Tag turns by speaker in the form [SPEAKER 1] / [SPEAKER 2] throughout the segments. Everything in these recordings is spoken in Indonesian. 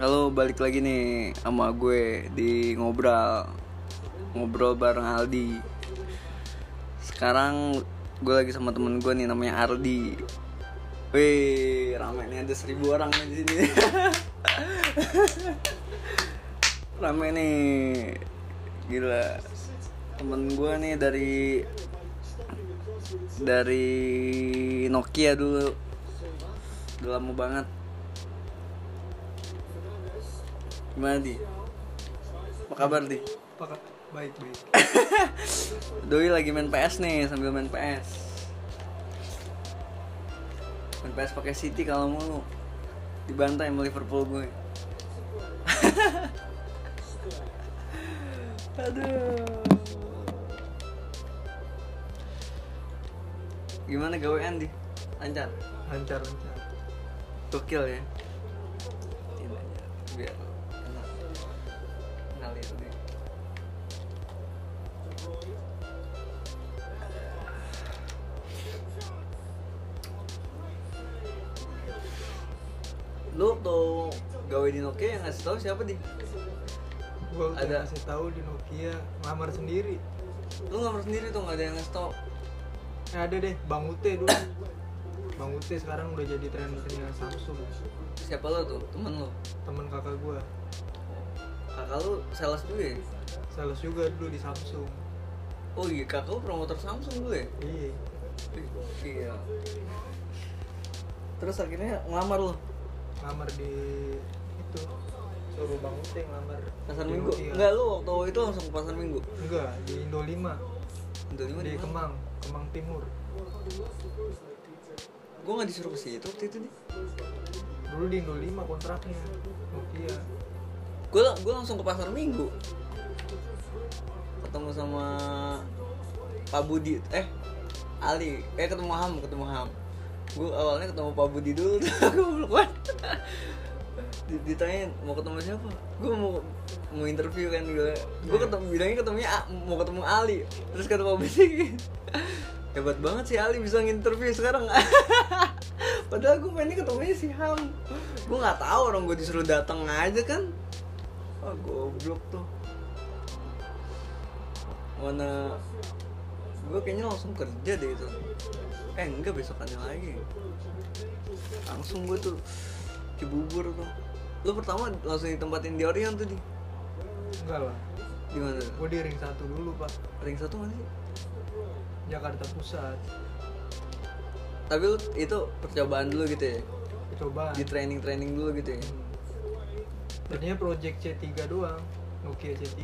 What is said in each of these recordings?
[SPEAKER 1] Halo, balik lagi nih sama gue di ngobrol ngobrol bareng Aldi. Sekarang gue lagi sama temen gue nih namanya Ardi. Wih, rame nih ada seribu orang nih di sini. rame nih, gila. Temen gue nih dari dari Nokia dulu. Udah lama banget. Gimana di? Apa kabar di?
[SPEAKER 2] Pakat baik baik.
[SPEAKER 1] Doi lagi main PS nih sambil main PS. Main PS pakai City kalau mulu. Dibantai sama Liverpool gue. Aduh. Gimana gawean di? Lancar.
[SPEAKER 2] Lancar lancar.
[SPEAKER 1] Gokil ya. Tidak, biar ya, enak. Ngalir deh. Lu tuh gawe di Nokia yang ngasih tau siapa di?
[SPEAKER 2] Gua udah
[SPEAKER 1] Ada.
[SPEAKER 2] ngasih tahu di Nokia ngelamar sendiri.
[SPEAKER 1] Lu ngamar sendiri tuh nggak ada yang ngasih tau.
[SPEAKER 2] Eh, ada deh Bang Ute dulu. Bang Ute sekarang udah jadi trainer dengan Samsung.
[SPEAKER 1] Siapa lu tuh? Temen lu?
[SPEAKER 2] Temen kakak gua.
[SPEAKER 1] Kakak lu sales juga ya?
[SPEAKER 2] Sales juga dulu di Samsung.
[SPEAKER 1] Oh iya, kakak lu promotor Samsung dulu ya?
[SPEAKER 2] Iya.
[SPEAKER 1] Iya. Terus akhirnya ngelamar lo
[SPEAKER 2] Ngelamar di itu suruh Bang Ute ngelamar.
[SPEAKER 1] pasar
[SPEAKER 2] di
[SPEAKER 1] minggu?
[SPEAKER 2] Nokia.
[SPEAKER 1] Enggak lu waktu itu langsung ke pasar minggu.
[SPEAKER 2] Enggak, di Indo 5.
[SPEAKER 1] Untuk
[SPEAKER 2] Di Kemang, Kemang Timur.
[SPEAKER 1] Gue nggak disuruh ke situ waktu itu nih.
[SPEAKER 2] Dulu di Indo 5 kontraknya. Nokia.
[SPEAKER 1] Gue gue langsung ke pasar minggu. Ketemu sama Pak Budi. Eh Ali. Eh ketemu Ham, ketemu Ham. Gue awalnya ketemu Pak Budi dulu. Gue belum kuat. Di- ditanyain mau ketemu siapa gue mau mau interview kan gue gue ketemu bilangnya ketemunya A- mau ketemu Ali terus kata Pak Budi hebat banget sih Ali bisa nginterview sekarang padahal gue pengennya ketemunya si Ham gue nggak tahu orang gue disuruh datang aja kan ah goblok tuh mana gue kayaknya langsung kerja deh itu eh enggak besokannya lagi langsung gue tuh cibubur tuh lu pertama langsung ditempatin di Orion tuh di
[SPEAKER 2] Enggak lah.
[SPEAKER 1] di mana
[SPEAKER 2] Gua di ring 1 dulu, Pak.
[SPEAKER 1] ring satu mana sih
[SPEAKER 2] Jakarta Pusat.
[SPEAKER 1] tapi lu itu percobaan dulu gitu ya
[SPEAKER 2] Coba.
[SPEAKER 1] di training training dulu gitu ya
[SPEAKER 2] Tadinya project C3 doang, Nokia C3.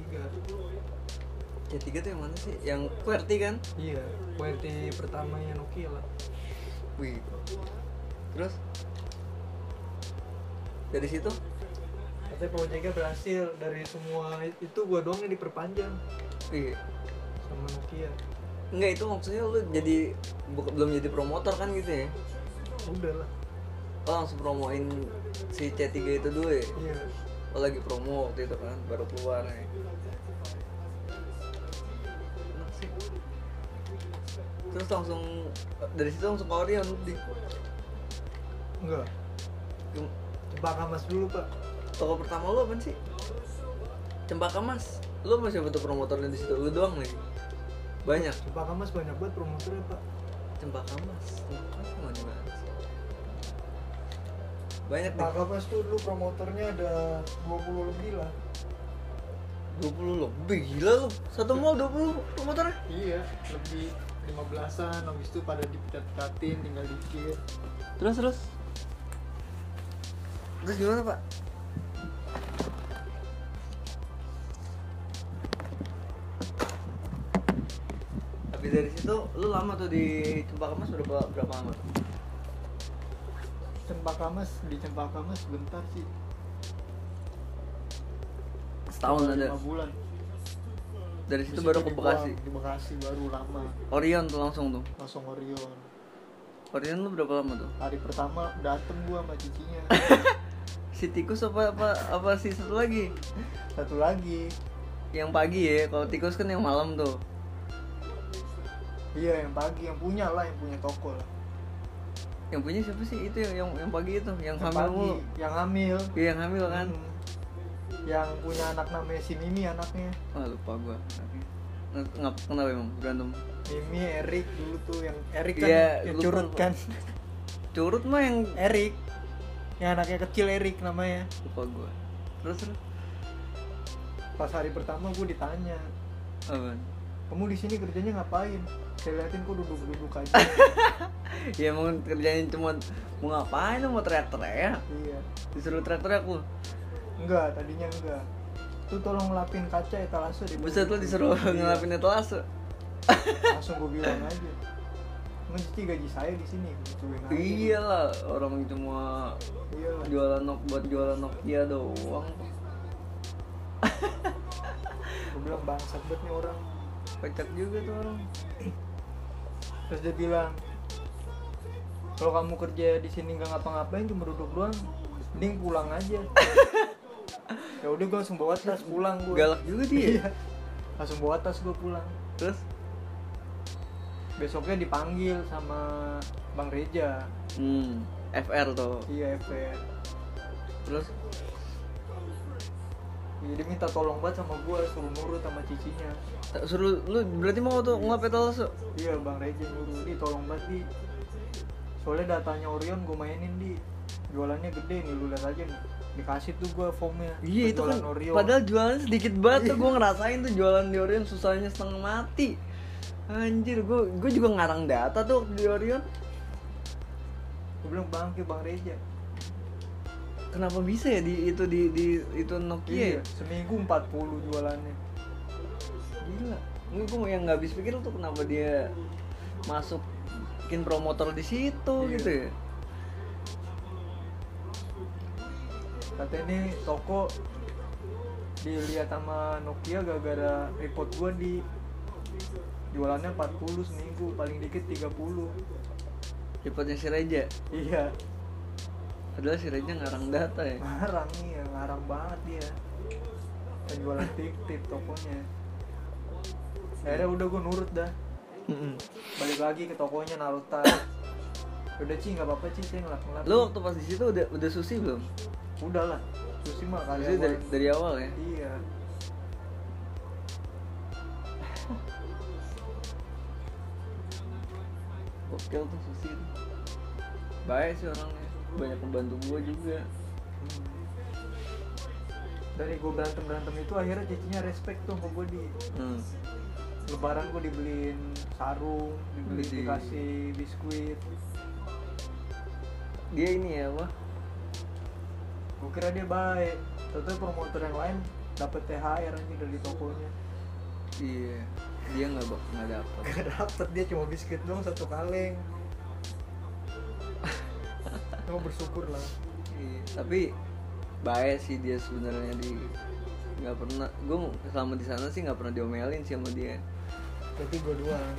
[SPEAKER 1] C3 tuh yang mana sih yang QWERTY kan
[SPEAKER 2] Iya, QWERTY pertamanya Nokia lah.
[SPEAKER 1] wih terus dari situ
[SPEAKER 2] Katanya projectnya berhasil dari semua itu gua doang yang diperpanjang
[SPEAKER 1] wih
[SPEAKER 2] sama Nokia.
[SPEAKER 1] enggak itu maksudnya lu jadi bu- belum jadi promotor kan gitu ya
[SPEAKER 2] Udah lah.
[SPEAKER 1] oh langsung promoin si C3 itu dulu ya
[SPEAKER 2] Iya.
[SPEAKER 1] Oh lagi promo waktu itu kan baru keluar nih. Enak sih. Terus langsung dari situ langsung ke Orion di
[SPEAKER 2] Enggak.
[SPEAKER 1] di-
[SPEAKER 2] Cempaka Mas dulu, Pak.
[SPEAKER 1] toko pertama lu apa sih? Cempaka Mas. Lu masih betul promotornya di situ lu doang nih. Banyak
[SPEAKER 2] Cempaka Mas banyak banget promotornya, Pak.
[SPEAKER 1] Cempaka Mas. Cempaka Mas mau di mana sih? Banyak deh.
[SPEAKER 2] Cempaka Mas tuh dulu promotornya ada 20 lebih lah.
[SPEAKER 1] 20 lebih gila lu. Satu mall 20 promotornya.
[SPEAKER 2] Iya, lebih 15-an habis itu pada dipecat-pecatin tinggal dikit.
[SPEAKER 1] Terus terus. Terus gimana, Pak? Tapi dari situ lu lama tuh di Cempaka Mas berapa berapa lama? tuh?
[SPEAKER 2] Cempaka Mas di Cempaka Mas bentar sih.
[SPEAKER 1] Setahun ada.
[SPEAKER 2] lima bulan
[SPEAKER 1] Dari situ
[SPEAKER 2] Terus
[SPEAKER 1] baru
[SPEAKER 2] itu
[SPEAKER 1] ke
[SPEAKER 2] dibuang,
[SPEAKER 1] Bekasi.
[SPEAKER 2] di Bekasi baru lama
[SPEAKER 1] Orion tuh langsung tuh.
[SPEAKER 2] langsung Orion
[SPEAKER 1] Orion lu berapa lama tuh?
[SPEAKER 2] hari pertama dateng gua sama cicinya
[SPEAKER 1] Si tikus apa apa apa sih satu lagi?
[SPEAKER 2] satu lagi
[SPEAKER 1] Yang pagi ya, kalau tikus kan yang malam tuh.
[SPEAKER 2] iya yang pagi yang punya lah yang punya toko lah
[SPEAKER 1] yang punya siapa sih itu yang yang, yang pagi itu yang hamil
[SPEAKER 2] Pagi,
[SPEAKER 1] mulu
[SPEAKER 2] yang hamil
[SPEAKER 1] iya yang hamil kan
[SPEAKER 2] Hmm. yang punya anak namanya si Mimi anaknya
[SPEAKER 1] wah lupa gua Oke. Nge- ngap- kenapa emang berantem
[SPEAKER 2] Mimi Erik dulu tuh yang Erik kan
[SPEAKER 1] Iya,
[SPEAKER 2] yang
[SPEAKER 1] lupa,
[SPEAKER 2] curut
[SPEAKER 1] lupa.
[SPEAKER 2] kan
[SPEAKER 1] curut mah yang
[SPEAKER 2] Erik yang anaknya kecil Erik namanya
[SPEAKER 1] lupa gua terus terus
[SPEAKER 2] pas hari pertama gue ditanya
[SPEAKER 1] Apaan?
[SPEAKER 2] kamu di sini kerjanya ngapain saya liatin kok duduk-duduk aja
[SPEAKER 1] ya emang kerjanya cuma mau ngapain lu mau teriak-teriak
[SPEAKER 2] iya
[SPEAKER 1] disuruh teriak-teriak aku
[SPEAKER 2] enggak tadinya enggak tuh tolong ngelapin kaca etalase di
[SPEAKER 1] buset lu disuruh
[SPEAKER 2] Iya. Nah,
[SPEAKER 1] ngelapin etalase
[SPEAKER 2] langsung gue bilang aja mencuci gaji saya di sini gituin aja.
[SPEAKER 1] iya lah orang cuma
[SPEAKER 2] iya
[SPEAKER 1] jualan nok buat jualan Nokia doang
[SPEAKER 2] gue bilang bangsat banget nih orang
[SPEAKER 1] kocak juga tuh orang
[SPEAKER 2] terus dia bilang kalau kamu kerja di sini nggak ngapa-ngapain cuma duduk doang mending pulang aja ya udah gue langsung bawa tas pulang gue
[SPEAKER 1] galak juga dia
[SPEAKER 2] iya langsung bawa tas gue pulang
[SPEAKER 1] terus
[SPEAKER 2] besoknya dipanggil sama bang Reja
[SPEAKER 1] hmm FR tuh
[SPEAKER 2] iya FR
[SPEAKER 1] terus
[SPEAKER 2] Iya, dia minta tolong banget sama gue suruh nurut sama cicinya
[SPEAKER 1] ta- suruh lu berarti mau tuh ngelap etalase
[SPEAKER 2] iya bang Reja nyuruh di tolong banget di soalnya datanya Orion gue mainin di jualannya gede nih lu lihat aja nih dikasih tuh gue formnya
[SPEAKER 1] Iya itu kan
[SPEAKER 2] Jualan Iya. Orion.
[SPEAKER 1] padahal jualan sedikit banget tuh gue ngerasain tuh jualan di Orion susahnya setengah mati. Anjir, gue gue juga ngarang data tuh waktu di Orion.
[SPEAKER 2] gue bilang bangke bang Reja
[SPEAKER 1] Kenapa bisa ya di itu di di itu Nokia?
[SPEAKER 2] iya
[SPEAKER 1] ya?
[SPEAKER 2] seminggu 40 jualannya
[SPEAKER 1] Gila. Gue gue yang nggak habis pikir tuh kenapa dia masuk bikin promotor di situ
[SPEAKER 2] Iya.
[SPEAKER 1] gitu ya.
[SPEAKER 2] katanya nih toko dilihat sama Nokia gara-gara report gua di jualannya 40 seminggu paling dikit 30
[SPEAKER 1] Cepatnya si Reja.
[SPEAKER 2] iya
[SPEAKER 1] Padahal si Reja ngarang data ya.
[SPEAKER 2] ngarang nih ya, ngarang banget dia penjualan fiktif tokonya akhirnya udah gua nurut dah balik lagi ke tokonya naruh tas udah Ci nggak apa-apa Ci saya ngelak ngelak
[SPEAKER 1] Lu waktu pas di situ udah udah susi belum?
[SPEAKER 2] udah lah Susi mah kali
[SPEAKER 1] Susi dari, dari awal ya.
[SPEAKER 2] Iya.
[SPEAKER 1] Gokil tuh Susi itu. Baik sih orangnya Banyak membantu gue juga
[SPEAKER 2] Dari gue berantem berantem itu akhirnya cicinya respect tuh sama gue di
[SPEAKER 1] hmm.
[SPEAKER 2] Lebaran gue dibeliin sarung, dibeli
[SPEAKER 1] Widih.
[SPEAKER 2] dikasih biskuit.
[SPEAKER 1] Dia ini ya apa?
[SPEAKER 2] Gue kira dia baik. Tentu promotor yang lain dapet THR aja dari tokonya.
[SPEAKER 1] Iya Dia nggak bak nggak dapet
[SPEAKER 2] Gak dapet dia cuma biskuit doang satu kaleng. Gue bersyukur lah.
[SPEAKER 1] Iya. Tapi baik sih dia sebenarnya di nggak pernah gue selama di sana sih nggak pernah diomelin sih sama dia
[SPEAKER 2] Tapi gue doang.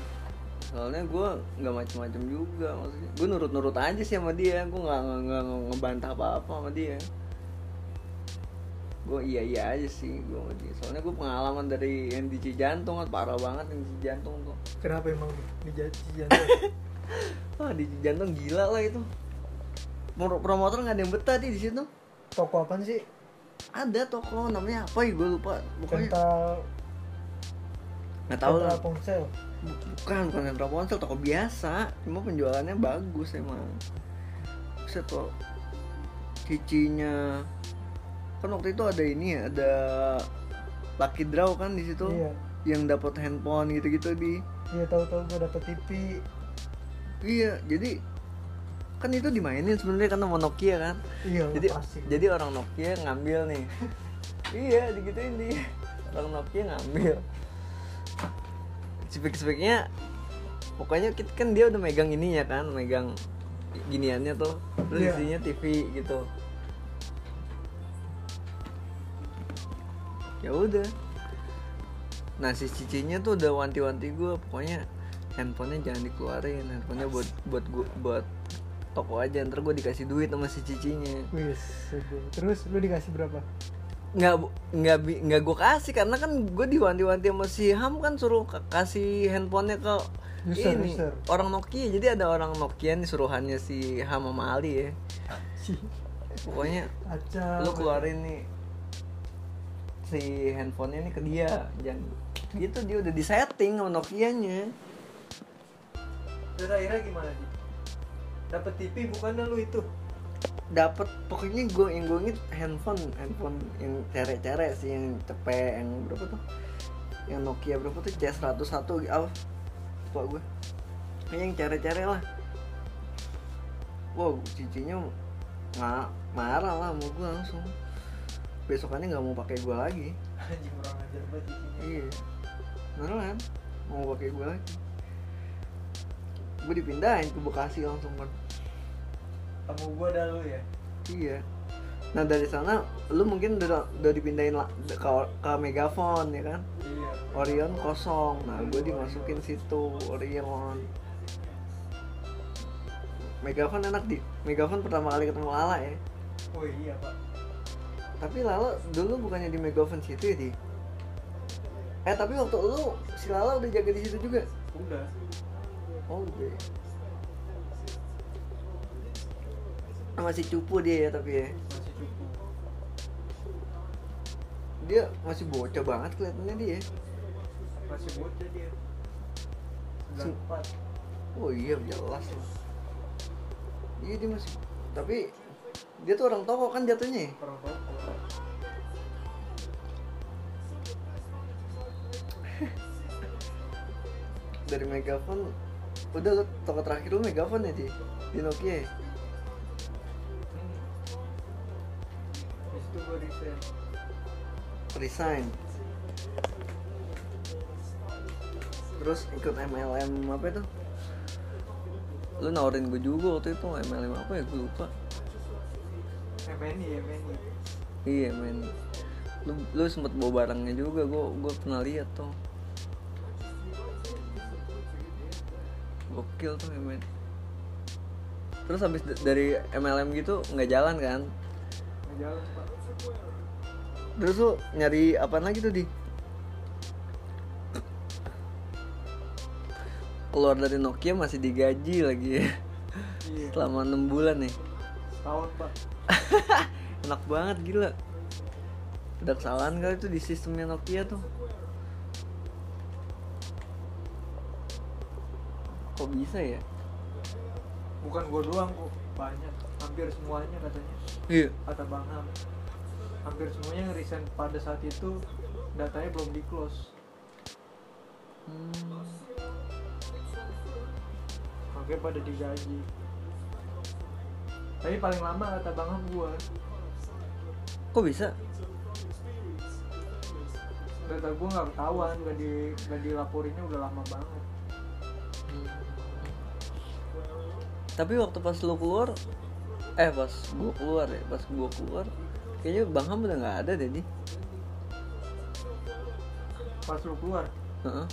[SPEAKER 1] soalnya gue nggak macem-macem juga maksudnya gue nurut-nurut aja sih sama dia gue nggak nggak- nggak nggak ngebantah apa-apa sama dia gue iya iya aja sih gue sama dia soalnya gue pengalaman dari yang di Cijantung kan parah banget yang di Cijantung tuh
[SPEAKER 2] Kenapa emang dijajah?
[SPEAKER 1] wah di Cijantung gila lah itu Pro- promotor nggak ada yang betah di di situ
[SPEAKER 2] Toko apaan sih?
[SPEAKER 1] ada toko namanya apa ya gue lupa pokoknya
[SPEAKER 2] Kental
[SPEAKER 1] nggak tahu lah
[SPEAKER 2] Ponsel.
[SPEAKER 1] bukan bukan sentra ponsel toko biasa cuma penjualannya bagus emang set lo cicinya kan waktu itu ada ini ya ada lucky draw kan di situ
[SPEAKER 2] Iya.
[SPEAKER 1] yang dapat handphone gitu-gitu di
[SPEAKER 2] Iya tahu-tahu gue dapet TV.
[SPEAKER 1] iya jadi kan itu dimainin sebenarnya karena mau Nokia kan
[SPEAKER 2] Iya,
[SPEAKER 1] jadi
[SPEAKER 2] pasti.
[SPEAKER 1] jadi orang Nokia ngambil nih iya digituin di orang Nokia ngambil spek-speknya pokoknya kita kan dia udah megang ininya kan megang giniannya tuh terus
[SPEAKER 2] Iya.
[SPEAKER 1] isinya TV gitu ya udah nah si cicinya tuh udah wanti-wanti gue pokoknya handphonenya jangan dikeluarin handphonenya buat buat gua, buat toko aja ntar gue dikasih duit sama si cicinya
[SPEAKER 2] Wis, terus lu dikasih berapa?
[SPEAKER 1] nggak bu- nggak bi- nggak gue kasih karena kan gue diwanti-wanti sama si Ham kan suruh ke- kasih handphonenya ke
[SPEAKER 3] User,
[SPEAKER 1] ini
[SPEAKER 3] user.
[SPEAKER 1] orang Nokia jadi ada orang Nokia nih suruhannya si Ham sama Ali ya pokoknya
[SPEAKER 3] Acap.
[SPEAKER 1] lu keluarin nih si handphonenya nih ke dia jangan gitu dia udah disetting sama Nokianya
[SPEAKER 2] Terus akhirnya gimana sih? Dapat TV bukannya lu itu?
[SPEAKER 1] dapat pokoknya gue yang gue inget handphone handphone yang cere-cere sih yang cepet yang berapa tuh yang Nokia berapa tuh C101 gitu apa lupa gue Pokoknya yang cere-cere lah wow cicinya nggak marah lah sama gue langsung besokannya nggak mau pakai gue lagi
[SPEAKER 2] Anjing kurang ajar banget TV-nya.
[SPEAKER 1] iya beneran mau pakai gue lagi gue dipindahin ke Bekasi langsung kan
[SPEAKER 2] Kamu gua dah lu ya.
[SPEAKER 1] Iya. Nah dari sana lu mungkin udah, udah dipindahin la- ke, ke Megafon ya kan?
[SPEAKER 2] Iya.
[SPEAKER 1] Orion kosong. Nah gue dimasukin situ Orion. Megafon enak di. Megafon pertama kali ketemu Lala ya.
[SPEAKER 2] Oh iya pak.
[SPEAKER 1] Tapi Lala dulu bukannya di Megafon situ ya di. Eh tapi waktu lu si Lala udah jaga di situ juga.
[SPEAKER 2] Udah.
[SPEAKER 1] Oh gue. Masih cupu dia ya tapi ya.
[SPEAKER 2] Masih cukup.
[SPEAKER 1] Dia masih bocah banget kelihatannya dia. ya.
[SPEAKER 2] Masih ya? bocah dia.
[SPEAKER 1] Sem-
[SPEAKER 2] 94
[SPEAKER 1] Oh iya jelas lah. Iya dia masih tapi dia tuh orang toko kan jatuhnya. ya?
[SPEAKER 2] orang toko.
[SPEAKER 1] Dari Megafon udah lu toko terakhir lu Megafon ya di di Nokia. ya?
[SPEAKER 2] Hmm. Di situ gua resign.
[SPEAKER 1] Resign. Terus ikut MLM apa itu? Lu nawarin gue juga waktu itu MLM apa ya gue lupa.
[SPEAKER 2] MNI MNI.
[SPEAKER 1] Iya men. Lu lu sempet bawa barangnya juga gue gue pernah lihat tuh. Gokil tuh ya, men. Terus habis d- dari MLM gitu nggak jalan kan?
[SPEAKER 2] Nggak jalan pak.
[SPEAKER 1] Terus lu nyari apa lagi tuh di? Keluar dari Nokia masih digaji lagi ya.
[SPEAKER 2] Iya.
[SPEAKER 1] Selama 6 bulan nih.
[SPEAKER 2] Setahun pak.
[SPEAKER 1] Enak banget gila. Ada kesalahan kali tuh di sistemnya Nokia tuh. Kok bisa ya?
[SPEAKER 2] Bukan gua doang kok. Banyak. Hampir semuanya katanya.
[SPEAKER 1] Iya.
[SPEAKER 2] Kata Bang Ham. Hampir semuanya yang resign pada saat itu datanya belum di close.
[SPEAKER 1] Hmm.
[SPEAKER 2] Makanya pada digaji. Tapi paling lama kata Bang Ham gua.
[SPEAKER 1] Kok bisa?
[SPEAKER 2] Data gua nggak ketahuan, nggak di nggak dilaporinnya udah lama banget.
[SPEAKER 1] Tapi waktu pas lu keluar eh pas gua keluar ya, pas gua keluar kayaknya Bang Ham udah nggak ada deh nih.
[SPEAKER 2] Pas lu keluar,
[SPEAKER 1] Heeh.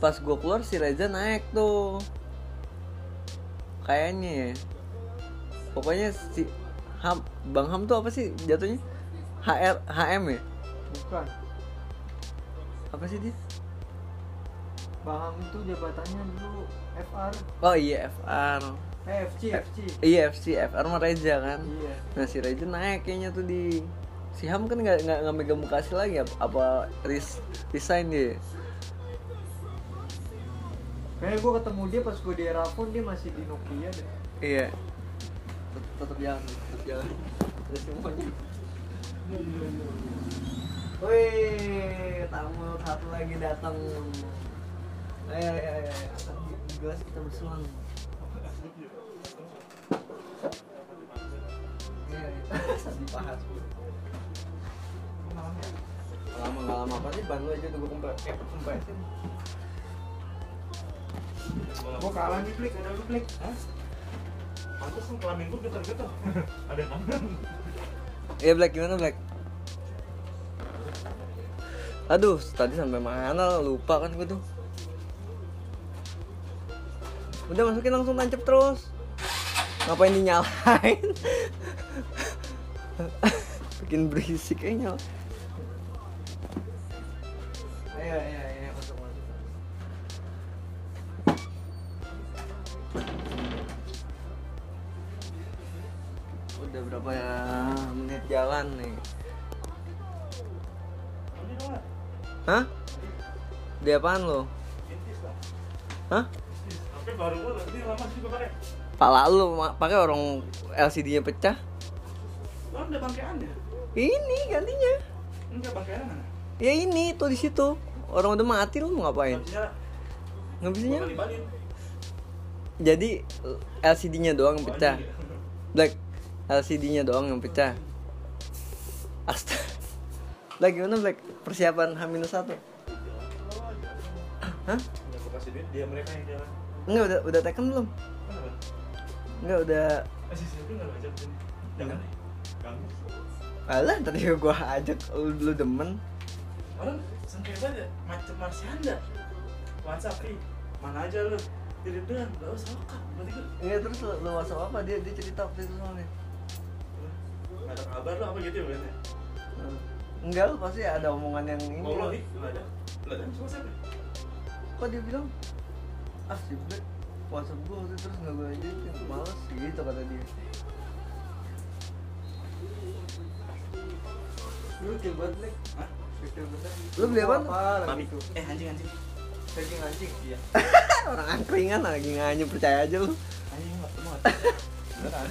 [SPEAKER 1] Pas gua keluar si Reza naik tuh. Kayaknya ya. Pokoknya si Ham, Bang Ham tuh apa sih jatuhnya? HR HM ya?
[SPEAKER 2] bukan.
[SPEAKER 1] Apa sih dia?
[SPEAKER 2] Bang Ham itu jabatannya dulu FR,
[SPEAKER 1] Oh iya FR.
[SPEAKER 2] eh FC, FC.
[SPEAKER 1] Iya FC FR sama Reza kan.
[SPEAKER 2] Iya.
[SPEAKER 1] Nah si Reza naik kayaknya tuh di si Ham kan nggak nggak nggak megang Bekasi lagi apa, apa res, resign dia. ya?
[SPEAKER 2] Kayaknya gua ketemu dia pas gua di Erafon dia masih di Nokia deh.
[SPEAKER 1] Iya. Tet- Tetap jalan, tetap jalan. Terus semuanya. Wih, tamu satu lagi datang. Ayo, ayo, ayo, ayo. Di Gelas kita bersulang. Iya, iya. Sadi pahat. Lama nggak lama apa sih? Ban lu aja tuh gue kempes, eh, kempesin.
[SPEAKER 2] Gua kalah nih klik, ada lu klik.
[SPEAKER 1] Hah?
[SPEAKER 4] Pantes kan kelamin gue geter-geter Ada yang ngambil
[SPEAKER 1] Iya Black gimana Black? Aduh, tadi sampai mana lupa kan gue tuh. Udah masukin langsung tancap terus. Ngapain dinyalain? Bikin berisik kayaknya.
[SPEAKER 2] Iya,
[SPEAKER 1] Ayo, ayo, ayo, masuk, masuk. udah berapa ya menit jalan nih
[SPEAKER 4] Ini dong lah.
[SPEAKER 1] hah di apaan lo
[SPEAKER 4] Intis lah.
[SPEAKER 1] hah
[SPEAKER 4] Intis. HP baru gua loh. Ini lama sih gua pakai.
[SPEAKER 1] pala lu ma- pakai orang LCD-nya pecah
[SPEAKER 4] Lo ada bangkeannya?
[SPEAKER 1] ini gantinya
[SPEAKER 4] Enggak bangkeannya mana?
[SPEAKER 1] ya ini tuh di situ orang udah mati lu mau ngapain
[SPEAKER 4] Bisa
[SPEAKER 1] nggak
[SPEAKER 4] gua
[SPEAKER 1] bisanya
[SPEAKER 4] balik-balik.
[SPEAKER 1] jadi LCD-nya doang yang pecah
[SPEAKER 4] Oh, ini.
[SPEAKER 1] black LCD-nya doang yang pecah astaga black gimana black persiapan H-1 hah
[SPEAKER 4] Nggak gua kasih duit dia mereka yang jalan.
[SPEAKER 1] enggak udah udah tekan belum
[SPEAKER 4] Kenapa?
[SPEAKER 1] enggak udah
[SPEAKER 4] Eh, si Silvi nggak ngajak sini.
[SPEAKER 1] Iya.
[SPEAKER 4] Jangan. Ganggu.
[SPEAKER 1] alah tadi gua ajak lu, lu demen
[SPEAKER 4] Orang sengketa banget ya, macam Marsyanda. WhatsApp Ri. mana aja lu? Tidak bilang, gak usah lokap. Berarti gua
[SPEAKER 1] enggak Iya, terus lu, lu WhatsApp apa dia dia cerita waktu itu soalnya
[SPEAKER 4] nggak ada kabar lu apa gitu ya berarti?
[SPEAKER 1] Hmm. enggak lu pasti ada omongan yang ini
[SPEAKER 4] Mau lo
[SPEAKER 1] lu.
[SPEAKER 4] nih, nggak ada. Nggak ada. Cuma siapa?
[SPEAKER 1] kok dia bilang ah si black WhatsApp gua waktu itu terus nggak gua editin males gitu kata dia
[SPEAKER 2] Lu kayak buat nih.
[SPEAKER 4] Hah?
[SPEAKER 2] Gitu bener.
[SPEAKER 1] Lu beli apaan?
[SPEAKER 2] lagi
[SPEAKER 4] Babi.
[SPEAKER 2] tuh?
[SPEAKER 4] Eh anjing anjing.
[SPEAKER 2] Daging anjing.
[SPEAKER 4] Iya.
[SPEAKER 1] Kan orang angkringan lagi nganyu percaya aja lu
[SPEAKER 4] Anjing nggak ketemu. Beneran.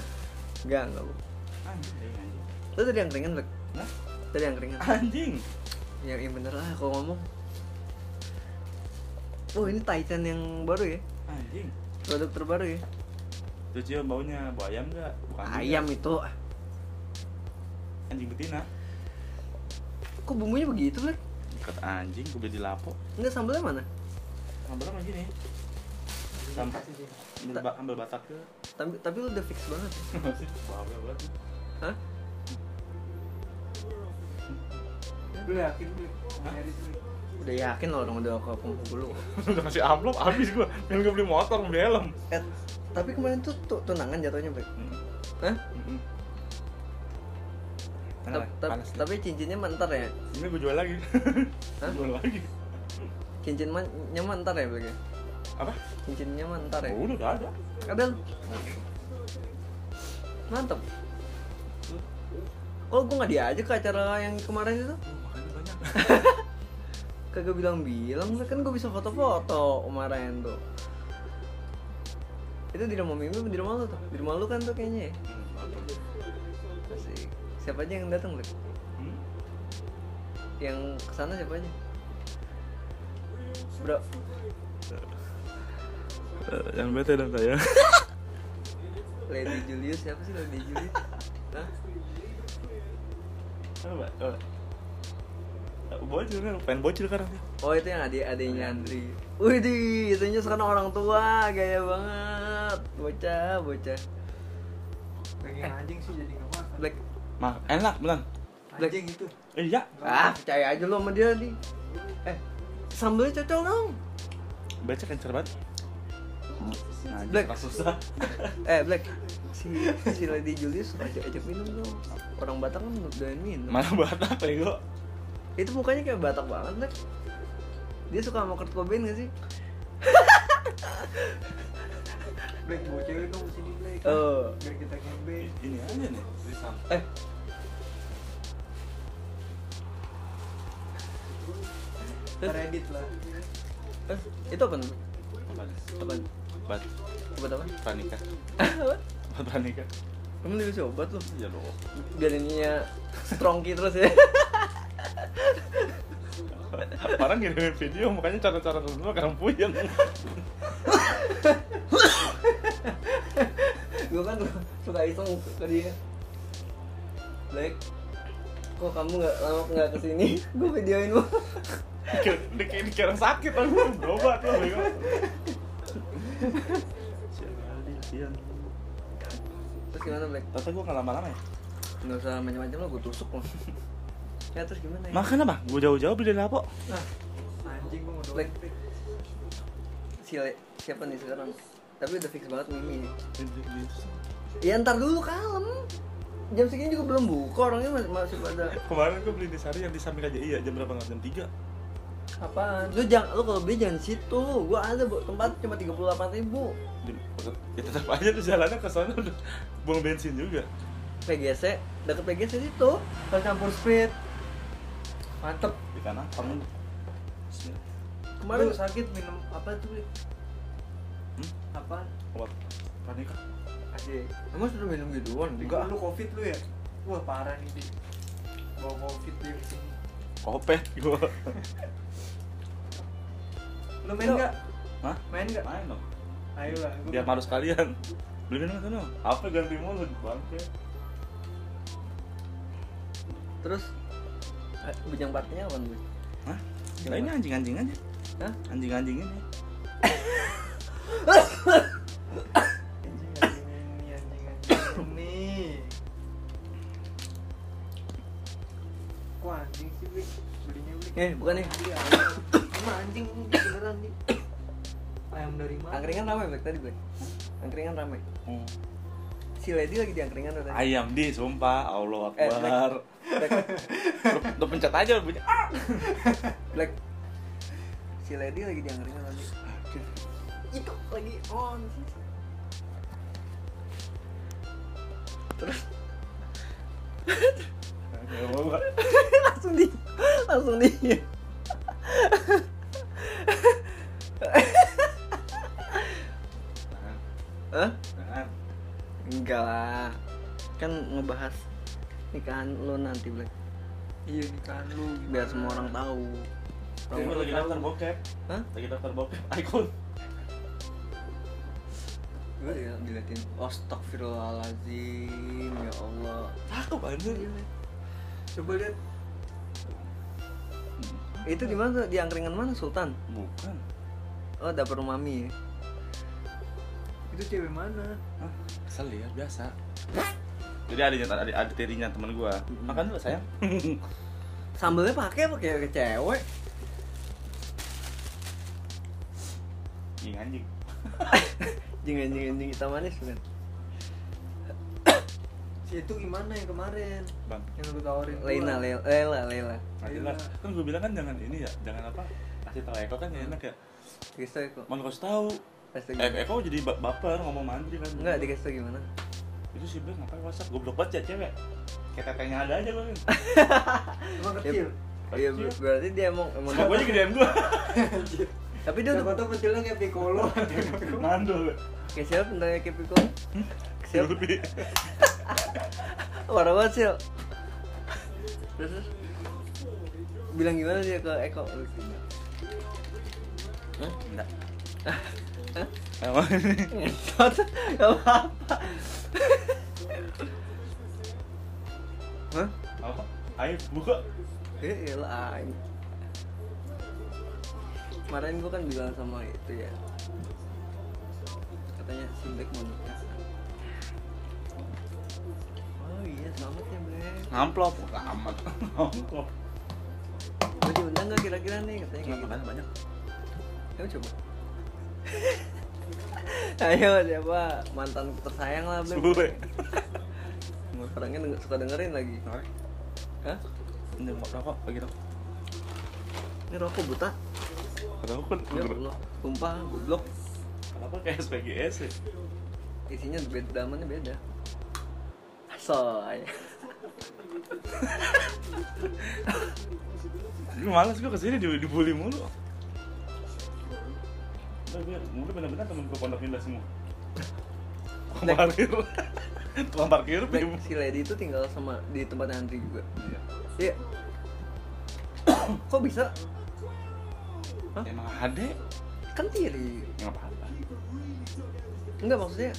[SPEAKER 1] enggak enggak lu
[SPEAKER 4] Anjing anjing.
[SPEAKER 1] lu tadi angkringan black
[SPEAKER 4] Hah?
[SPEAKER 1] tadi angkringan
[SPEAKER 4] Anjing.
[SPEAKER 1] ya, ya bener lah kalau ngomong oh ini Titan yang baru ya
[SPEAKER 4] Anjing.
[SPEAKER 1] produk terbaru ya
[SPEAKER 4] Tuh cium baunya bau ayam nggak? Bukan
[SPEAKER 1] ayam
[SPEAKER 4] juga.
[SPEAKER 1] itu
[SPEAKER 4] Anjing betina.
[SPEAKER 1] kok bumbunya begitu black
[SPEAKER 4] Ikat anjing, gue beli di lapo.
[SPEAKER 1] enggak sambalnya mana
[SPEAKER 4] Ambil lagi nih. Sampai ambil, ba- ambil batak ke.
[SPEAKER 1] tapi tapi lu udah fix banget ya?
[SPEAKER 4] Bau banget.
[SPEAKER 1] hah
[SPEAKER 2] Lu yakin beli?
[SPEAKER 4] Hah?
[SPEAKER 2] Nyari beli.
[SPEAKER 1] udah yakin loh orang udah aku aku dulu
[SPEAKER 4] udah kasih amplop habis gue pengen gue beli motor beli helm
[SPEAKER 1] eh tapi kemarin tuh, tuh tunangan jatuhnya black
[SPEAKER 4] Hmm.
[SPEAKER 1] hah Tap- tap- tapi cincinnya mantar ya
[SPEAKER 4] ini gue jual lagi
[SPEAKER 1] Hah?
[SPEAKER 4] jual lagi
[SPEAKER 1] cincin man- nya mantar ya black ya
[SPEAKER 4] apa
[SPEAKER 1] cincinnya mantar ya
[SPEAKER 4] oh, udah gak ada
[SPEAKER 1] Ada lu. Mantap. Kok gue Oh, nggak diajak ke acara yang kemarin itu?
[SPEAKER 4] makanya banyak
[SPEAKER 1] Kagak bilang-bilang, kan gue bisa foto-foto kemarin tuh. Itu di rumah mimpi apa di rumah lu tuh? Di rumah lu kan tuh kayaknya ya? Asik. Siapa aja yang datang, Lek?
[SPEAKER 4] Hmm?
[SPEAKER 1] Yang kesana siapa aja? Bro,
[SPEAKER 4] Eh, yang bete dong saya
[SPEAKER 1] Lady Julius siapa sih Lady Julius? Hah?
[SPEAKER 4] apa apa? bocil kan pengen bocil sekarang
[SPEAKER 1] Oh itu yang adik adiknya Andri. Wih itunya sekarang orang tua gaya banget, bocah bocah.
[SPEAKER 2] Daging anjing sih jadi nggak makan.
[SPEAKER 1] Black,
[SPEAKER 4] mah enak beneran
[SPEAKER 1] Black.
[SPEAKER 2] Anjing itu.
[SPEAKER 4] iya
[SPEAKER 1] ah percaya aja lo sama dia di. Eh sambelnya cocok dong.
[SPEAKER 4] baca kencer banget Nah, Anjing,
[SPEAKER 1] Black.
[SPEAKER 4] orang susah
[SPEAKER 1] Eh Black, si si Lady Julius ajak ajak minum dong. Orang Batak kan udahin minum.
[SPEAKER 4] mana buat apa ya gue
[SPEAKER 1] Itu mukanya kayak Batak banget Black. Dia suka sama Kurt Cobain gak sih?
[SPEAKER 2] Black bawa cewek dong sini Black.
[SPEAKER 1] Eh.
[SPEAKER 2] Biar kita camping.
[SPEAKER 4] Eh, ini aja nih beli sam-
[SPEAKER 1] Eh
[SPEAKER 2] Reddit lah.
[SPEAKER 1] eh itu apa?
[SPEAKER 4] apa nih? Iya
[SPEAKER 1] Apa?
[SPEAKER 4] Bat
[SPEAKER 1] Obat apa?
[SPEAKER 4] pranikah Bat pranikah
[SPEAKER 1] Kamu udah bisa obat lo?
[SPEAKER 4] ya loh
[SPEAKER 1] biar ininya strongki terus ya
[SPEAKER 4] Orang ngirimin video makanya cara-cara tertentu karena puyeng.
[SPEAKER 1] gue kan suka iseng ke dia Black kok kamu nggak lama nggak kesini gue videoin lo
[SPEAKER 4] Dikira- Dikira dikira sakit aku berobat loh. bego.
[SPEAKER 1] terus gimana Black
[SPEAKER 4] Tata gue nggak lama-lama ya.
[SPEAKER 1] nggak usah macam-macam lo gue tusuk lo ya terus gimana ya
[SPEAKER 4] Makan apa? Gue jauh-jauh beli dari lapo.
[SPEAKER 2] Nah, anjing gua mau doang.
[SPEAKER 1] Black. si Le- siapa nih sekarang tapi udah fix banget Mimi nih ya ntar dulu kalem jam segini juga belum buka orangnya masih, masih pada
[SPEAKER 4] Kemarin gue beli di Sari yang di samping aja iya jam berapa nggak jam 3
[SPEAKER 1] apaan lu jangan lu kalau beli jangan di situ gue ada bu, tempat cuma tiga puluh ribu
[SPEAKER 4] Di- Ya tetap aja tuh jalannya ke sana udah buang bensin juga.
[SPEAKER 1] PGC deket PGC situ
[SPEAKER 2] Pas campur speed. Mantep.
[SPEAKER 4] di kanan kamu Iya.
[SPEAKER 1] kemarin
[SPEAKER 2] Lu sakit minum apa tuh? Li?
[SPEAKER 4] Hmm?
[SPEAKER 2] Apa?
[SPEAKER 4] obat panika
[SPEAKER 2] Asyik.
[SPEAKER 1] emang sudah minum gituan
[SPEAKER 4] Enggak.
[SPEAKER 2] Lu covid lu ya? Wah parah nih Bi. Bawa covid dia kesini.
[SPEAKER 4] kopet gua
[SPEAKER 2] Lu main
[SPEAKER 1] Lu-
[SPEAKER 2] nggak?
[SPEAKER 4] Hah?
[SPEAKER 2] Main nggak?
[SPEAKER 4] main dong
[SPEAKER 2] Ayo lah. gua-
[SPEAKER 4] biar malu sekalian beli minum sana apa ganti mulut bangke
[SPEAKER 1] terus eh, bujang partnya apa nih
[SPEAKER 4] Hah? Lainnya anjing-anjing aja.
[SPEAKER 1] Hah?
[SPEAKER 4] Anjing-anjing ini.
[SPEAKER 2] Anjing anjing ini anjing anjing ini. Kok anjing sih Bi? Belinya beli.
[SPEAKER 1] eh bukan nih
[SPEAKER 2] Iya, ayam. Emang anjing beneran nih. Ayam dari mana?
[SPEAKER 1] angkringan ramai baik tadi gue angkringan ramai
[SPEAKER 4] Oh.
[SPEAKER 1] si lady lagi di angkringan tuh tadi
[SPEAKER 4] Ayam di, sumpah. Allah
[SPEAKER 1] Eh,
[SPEAKER 4] Akbar.
[SPEAKER 1] black,
[SPEAKER 4] Lu lu pencet aja bunyi. Ah!
[SPEAKER 1] black. si lady lagi di angkringan tadi itu lagi on langsung di langsung di Hah? enggak lah kan ngebahas nikahan lo nanti black
[SPEAKER 2] Iya nikahan lu. gimana?
[SPEAKER 1] kan biar semua orang tahu
[SPEAKER 4] Tapi gua lagi daftar bokep.
[SPEAKER 1] Hah?
[SPEAKER 4] Lagi daftar bokep. Icon.
[SPEAKER 2] Oh,
[SPEAKER 1] gue
[SPEAKER 2] iya.
[SPEAKER 1] ya diliatin astagfirullahaladzim ya Allah
[SPEAKER 4] Cakep anjir.
[SPEAKER 2] Coba lihat
[SPEAKER 1] itu di mana tuh? di angkringan mana Sultan
[SPEAKER 4] Bukan.
[SPEAKER 1] oh dapur mami ya
[SPEAKER 2] itu cewek mana?
[SPEAKER 4] Hah? Kesel ya, biasa. Jadi ada ada ada, ada tirinya teman gua. Mm-hmm. Makan dulu sayang.
[SPEAKER 1] sambelnya pakai apa kayak kayak cewek
[SPEAKER 4] Ih anjing.
[SPEAKER 1] jangan jangan jangan hitam manis bukan
[SPEAKER 2] Si itu gimana yang kemarin?
[SPEAKER 4] Bang.
[SPEAKER 2] Yang lu tawarin. gua.
[SPEAKER 1] Leila Leila Eh, Leila Leila
[SPEAKER 4] Nanti lah. Kan gua bilang kan jangan ini ya, jangan apa? Kasih tahu Eko kan enak ya.
[SPEAKER 1] Kristo kok
[SPEAKER 4] Mau kasih tahu.
[SPEAKER 1] Kristo
[SPEAKER 4] Eh,
[SPEAKER 1] gimana
[SPEAKER 4] Eko jadi ba- baper ngomong mandiri kan.
[SPEAKER 1] enggak di Kristo gimana
[SPEAKER 4] itu sih bilang ngapain WhatsApp goblok banget ya cewek kayak tetenya ada aja gue
[SPEAKER 2] Emang kecil.
[SPEAKER 1] iya ber- berarti dia emang emang
[SPEAKER 4] sama gue aja gedean gue
[SPEAKER 1] tapi dia
[SPEAKER 2] Siapa
[SPEAKER 1] udah
[SPEAKER 2] tau kecilnya kayak Piccolo.
[SPEAKER 4] mandul
[SPEAKER 1] kayak siapa bentarnya kayak Piccolo
[SPEAKER 2] Hmm?
[SPEAKER 1] siapa
[SPEAKER 4] Yuri
[SPEAKER 1] Parah banget sih Yo. Terus terus. Bilang gimana dia ke Eko Hah?
[SPEAKER 4] enggak
[SPEAKER 1] Hah?
[SPEAKER 4] emang
[SPEAKER 1] Ngentot Gak apa-apa Hah?
[SPEAKER 4] apa ayo buka
[SPEAKER 1] Eh elah Aing. Kemarin gua kan bilang sama itu ya Katanya si Black mau nikah Oh iya selamat ya Black
[SPEAKER 4] ngamplop amat ngamplop
[SPEAKER 1] Gue diundang gak kira-kira nih katanya kayak gitu
[SPEAKER 4] banyak banyak
[SPEAKER 1] Ayo coba. Ayo siapa mantan tersayang lah Beb.
[SPEAKER 4] Sule.
[SPEAKER 1] Orangnya denger- suka dengerin lagi. Hah?
[SPEAKER 4] ini mau rokok bagi rokok
[SPEAKER 1] Ini rokok buta.
[SPEAKER 4] rokok
[SPEAKER 1] Ya Allah. Sumpah goblok.
[SPEAKER 4] kenapa kayak SPGS ya
[SPEAKER 1] Isinya beda damannya beda. Soy.
[SPEAKER 4] gue malas gue kesini di- dibully mulu Udah, gue mulu bener-bener temen gue pondok indah semua tukang
[SPEAKER 1] Black.
[SPEAKER 4] parkir tukang parkir
[SPEAKER 1] Beb,
[SPEAKER 4] bim.
[SPEAKER 1] si Lady itu tinggal sama di tempat Andri juga. Iya. Kok bisa? Hah?
[SPEAKER 4] Emang ada?
[SPEAKER 1] Kan tiri.
[SPEAKER 4] Enggak apa-apa.
[SPEAKER 1] Enggak maksudnya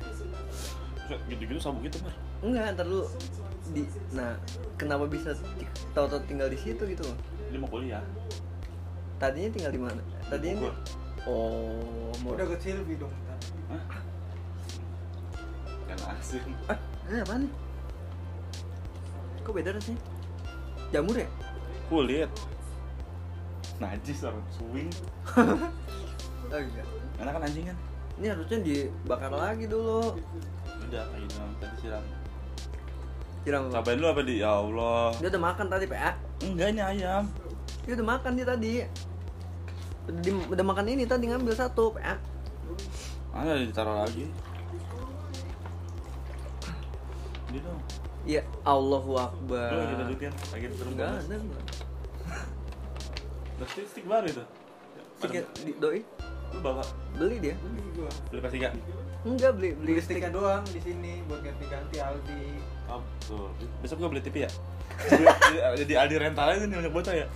[SPEAKER 4] Terus Gitu-gitu sabuk gitu, Mar.
[SPEAKER 1] enggak ntar dulu di nah kenapa bisa tahu-tahu tinggal di situ gitu loh
[SPEAKER 4] Dia mau kuliah.
[SPEAKER 1] Tadinya tinggal di mana? Tadinya
[SPEAKER 4] Bogor.
[SPEAKER 1] Oh, mau
[SPEAKER 2] Udah kecil Bi dong. ntar.
[SPEAKER 4] Hah? Kan asin.
[SPEAKER 1] Ah, ini apa nih? Kok beda rasanya? Jamur ya?
[SPEAKER 4] Kulit. Najis orang suwing.
[SPEAKER 1] Oh iya.
[SPEAKER 4] Enak kan anjing kan?
[SPEAKER 1] Ini harusnya dibakar lagi dulu.
[SPEAKER 4] Udah kayak gitu tadi siram.
[SPEAKER 1] Siram apa?
[SPEAKER 4] Cobain lu apa di? Ya Allah.
[SPEAKER 1] Dia udah makan tadi, PA.
[SPEAKER 4] Enggak ini ayam.
[SPEAKER 1] Dia udah makan dia tadi. Udah, di- udah makan ini tadi ngambil satu, PA.
[SPEAKER 4] Mana ditaruh lagi? Dia dong.
[SPEAKER 1] Ya Allahu Akbar.
[SPEAKER 4] Lu lagi lanjutin, lagi turun
[SPEAKER 1] Enggak
[SPEAKER 4] bonus.
[SPEAKER 1] ada enggak.
[SPEAKER 4] Nah, stick, stick baru itu.
[SPEAKER 1] Tiket
[SPEAKER 4] ya?
[SPEAKER 1] di- doi
[SPEAKER 4] Lu bawa
[SPEAKER 1] beli dia.
[SPEAKER 2] Beli gua.
[SPEAKER 4] beli PS3.
[SPEAKER 1] Enggak beli beli
[SPEAKER 2] Beli
[SPEAKER 1] stick.
[SPEAKER 2] stiknya doang di sini buat ganti-ganti Aldi.
[SPEAKER 4] Oh, betul. Besok gua beli TV ya. Jadi- Jadi Aldi rental aja nih banyak bocah ya.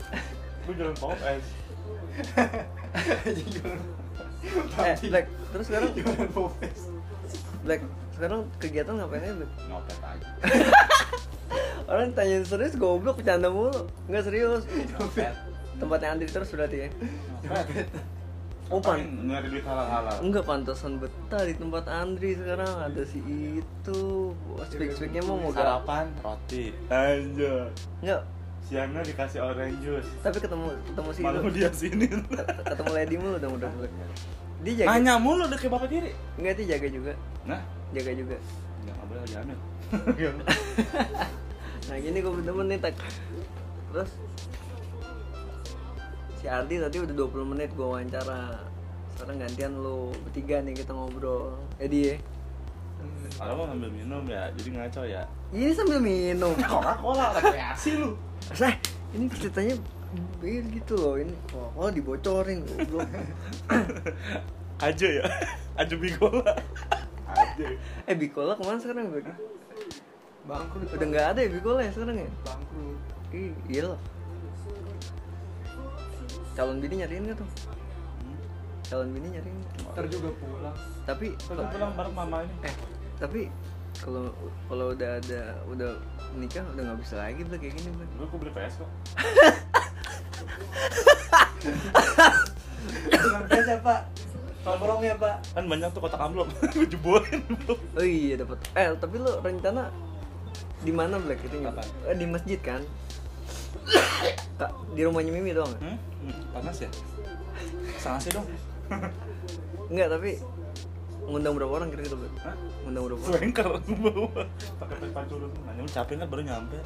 [SPEAKER 4] Gua jualan pop es.
[SPEAKER 1] Eh, Black. Terus sekarang
[SPEAKER 2] Jualan popes.
[SPEAKER 1] Black. Sekarang kegiatan ngapain aja, Black?
[SPEAKER 4] Ngopet aja.
[SPEAKER 1] Orang tanya serius goblok bercanda mulu. Enggak serius.
[SPEAKER 4] Ngopet.
[SPEAKER 1] Tempatnya Andri terus berarti ya.
[SPEAKER 4] Ngopet.
[SPEAKER 1] Oh, pan-
[SPEAKER 4] Ngapain Nyari duit halal-halal.
[SPEAKER 1] Enggak pantasan betah di tempat Andri sekarang ada si itu. Speak-speaknya mau mau gak?
[SPEAKER 4] Sarapan roti. Aja.
[SPEAKER 1] Enggak.
[SPEAKER 4] Siangnya dikasih orange juice.
[SPEAKER 1] Tapi ketemu ketemu si
[SPEAKER 4] Malam
[SPEAKER 1] itu.
[SPEAKER 4] dia sini.
[SPEAKER 1] Ketemu Lady mulu udah udah. Dia jaga.
[SPEAKER 4] Nanya mulu udah kayak bapak tiri.
[SPEAKER 1] Enggak dia jaga juga.
[SPEAKER 4] Iya, gitu. Nah,
[SPEAKER 1] Jaga juga.
[SPEAKER 4] nggak nggak boleh lagi hamil.
[SPEAKER 1] Nah gini gue temen nih tak Terus Si Ardi tadi udah 20 menit gue wawancara Sekarang gantian lo Bertiga nih kita ngobrol Edi ya
[SPEAKER 2] Hmm.
[SPEAKER 4] Kalau mau sambil minum ya, jadi ngaco ya.
[SPEAKER 1] Ini sambil minum
[SPEAKER 2] Oh,
[SPEAKER 4] Coca-Cola rekreasi lu.
[SPEAKER 1] Sah ini ceritanya Begini gitu loh Ini wah, wah dibocorin goblok.
[SPEAKER 4] Aja ya. Aja bigola. Aja.
[SPEAKER 1] Eh Bikola kemana sekarang Bek?
[SPEAKER 2] Bangkrut.
[SPEAKER 1] Udah nggak ada ya Bikola ya sekarang ya?
[SPEAKER 2] bangkrut.
[SPEAKER 1] Ih, iya lah Calon bini nyariin gak tuh? Calon bini nyariin nggak?
[SPEAKER 2] Ntar juga pulang.
[SPEAKER 1] Tapi
[SPEAKER 4] Kalau pulang bareng mama ini.
[SPEAKER 1] eh tapi kalau kalau udah ada udah nikah udah nggak bisa lagi tuh kayak gini Bang.
[SPEAKER 4] Gue beli PS kok.
[SPEAKER 2] Tukang pes ya, Pak. Tolong ya, Pak.
[SPEAKER 4] Kan banyak tuh kotak amplop. Gue jebolin amplop.
[SPEAKER 1] oh iya dapat eh tapi lu rencana di mana black itu nyuruh?
[SPEAKER 4] Apaan?
[SPEAKER 1] Eh, di masjid kan Kak, di rumahnya Mimi doang ya? nggak?
[SPEAKER 4] Hmm? Panas ya? Sangat sih dong.
[SPEAKER 1] Enggak, tapi ngundang berapa orang kira-kira, Black?
[SPEAKER 4] Hah?
[SPEAKER 1] Ngundang berapa orang?
[SPEAKER 4] Swengker bawa. Pakai pet pancu dulu. Nanya lu capek kan baru nyampe.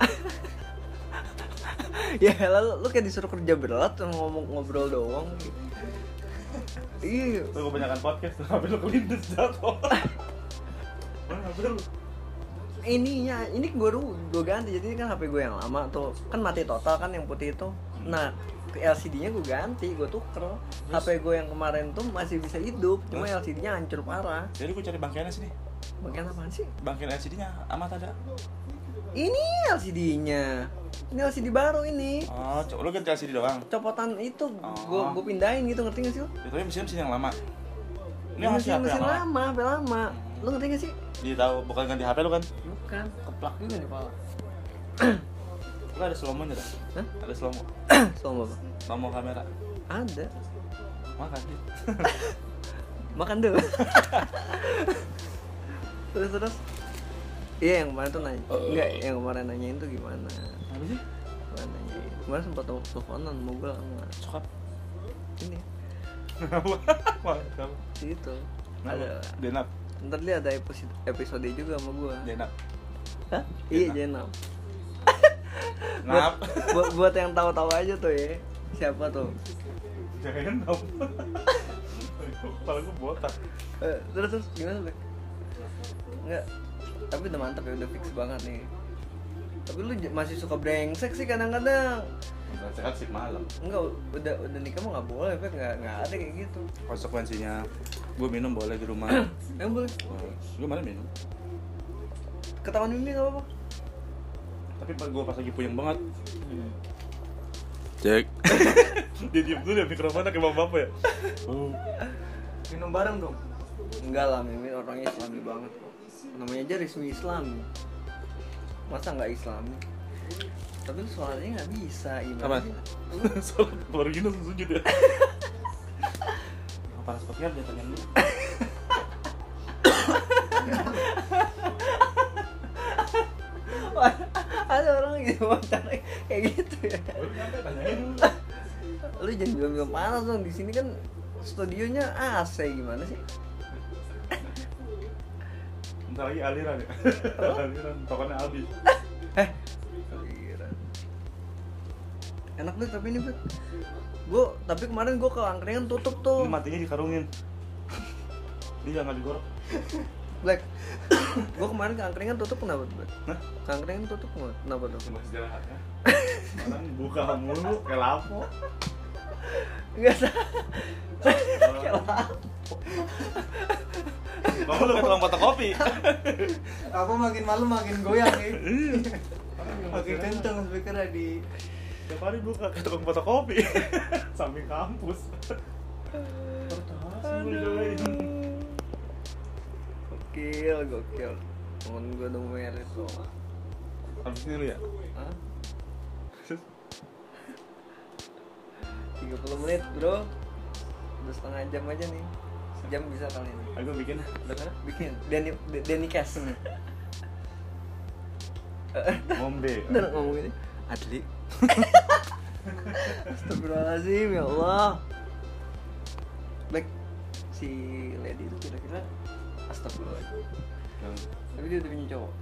[SPEAKER 1] ya lalu lu kayak disuruh kerja berat sama ngomong ngobrol doang gitu. Iya,
[SPEAKER 4] Lu kebanyakan podcast, tapi lu kelindes jatuh. Mana HP lu?
[SPEAKER 1] ininya ini gue gue ganti jadi kan HP gue yang lama tuh kan mati total kan yang putih itu
[SPEAKER 4] Hmm.
[SPEAKER 1] nah ke LCD-nya gue ganti gue tuker HP gue yang kemarin tuh masih bisa hidup cuma LCD-nya hancur parah
[SPEAKER 4] Jadi gue cari bangkainya sini.
[SPEAKER 1] bagian apaan sih
[SPEAKER 4] Bangkai LCD-nya amat ada.
[SPEAKER 1] ini LCD-nya ini LCD baru ini
[SPEAKER 4] Oh, cok, lu ganti LCD doang.
[SPEAKER 1] copotan itu gue
[SPEAKER 4] Oh.
[SPEAKER 1] gue pindahin gitu ngerti gak sih lo
[SPEAKER 4] Ya, tapi mesin mesin yang lama. Ini
[SPEAKER 1] mesin
[SPEAKER 4] masih HP yang
[SPEAKER 1] mesin
[SPEAKER 4] Iya, lama.
[SPEAKER 1] lama HP lama lo ngerti gak sih
[SPEAKER 4] Dia tahu bukan ganti HP lu kan?
[SPEAKER 1] bukan keplak juga nih pala
[SPEAKER 4] Lu ada slow mo-nya dah.
[SPEAKER 1] Hah?
[SPEAKER 4] Ada slow mo.
[SPEAKER 1] sama apa
[SPEAKER 4] Slow mo kamera.
[SPEAKER 1] ada
[SPEAKER 4] Makan sih.
[SPEAKER 1] makan dulu terus terus iya yang kemarin tuh nanya enggak yang kemarin nanyain tuh gimana
[SPEAKER 4] Apa sih?
[SPEAKER 1] kemarin nanyain kemarin sempat tel- teleponan mau gue sama
[SPEAKER 4] Cokap.
[SPEAKER 1] ini
[SPEAKER 4] Apa? Mantap.
[SPEAKER 1] si itu ada
[SPEAKER 4] Ada denap,
[SPEAKER 1] ntar dia ada episode episode juga sama gue
[SPEAKER 4] denap.
[SPEAKER 1] Hah? iya Jenam
[SPEAKER 4] Nap.
[SPEAKER 1] buat buat yang tahu-tahu aja tuh ya siapa tuh
[SPEAKER 4] Jangan nap. Kepala gue botak.
[SPEAKER 1] Eh, terus terus gimana Bek? Enggak. Tapi udah mantap ya, udah fix banget nih. Tapi lu j- masih suka brengsek sih kadang-kadang.
[SPEAKER 4] Sehat sih malam.
[SPEAKER 1] Enggak, udah udah nikah mah nggak boleh, Bek. Enggak enggak ada kayak gitu.
[SPEAKER 4] Konsekuensinya gue minum boleh di rumah.
[SPEAKER 1] Yang boleh.
[SPEAKER 4] gue malah minum.
[SPEAKER 1] Ketahuan mimpi enggak apa-apa.
[SPEAKER 4] Tapi pas gue pas lagi puyeng banget. Cek. Dia diem dulu ya mikrofonnya kayak bapak ya. Oh.
[SPEAKER 2] Minum bareng dong.
[SPEAKER 1] Enggak lah, Mimin orangnya islami banget kok. Namanya aja resmi Islam. Masa nggak Islami? Tapi lu soalnya nggak bisa,
[SPEAKER 4] Apa?
[SPEAKER 1] gimana? sih?
[SPEAKER 4] Salat baru gini langsung sujud ya. Kepala sepertinya dia tanya dulu.
[SPEAKER 1] ada orang gitu wawancara kayak gitu ya.
[SPEAKER 4] Oh,
[SPEAKER 1] lu jangan bilang-bilang panas dong di sini kan studionya AC gimana sih
[SPEAKER 4] Bentar lagi aliran ya. aliran tokonya Aldi.
[SPEAKER 1] eh Gila. enak deh tapi ini bet gue tapi kemarin gue ke angkringan tutup tuh
[SPEAKER 4] Oh. Ini matinya dikarungin. Ini jangan digorok.
[SPEAKER 1] black Gue kemarin keangkringan tutup kenapa? Bud?
[SPEAKER 4] Hah?
[SPEAKER 1] Keangkringan tutup nggak? Kenapa tuh?
[SPEAKER 4] Cuma istirahat ya. Malam buka mulu kayak lapo.
[SPEAKER 1] Enggak tahu.
[SPEAKER 4] Bang lu tukang fotokopi.
[SPEAKER 2] Apa makin malam makin goyang ya? makin kenceng speakernya di
[SPEAKER 4] Tiap hari buka kayak tukang fotokopi. Samping kampus. Kertas mulu doain.
[SPEAKER 1] Gokil, gokil. Temen gue udah merah tuh.
[SPEAKER 4] Habis ini lu ya?
[SPEAKER 1] Hah? 30 menit bro Udah setengah jam aja nih Sejam bisa kali ini
[SPEAKER 4] Aku bikin
[SPEAKER 1] Udah bikin Danny, D- Danny Cash
[SPEAKER 4] ngombe.
[SPEAKER 1] Udah ngomong gini Adli Astagfirullahaladzim ya Allah Baik Si lady itu kira-kira Astagfirullahaladzim Tapi dia udah punya cowok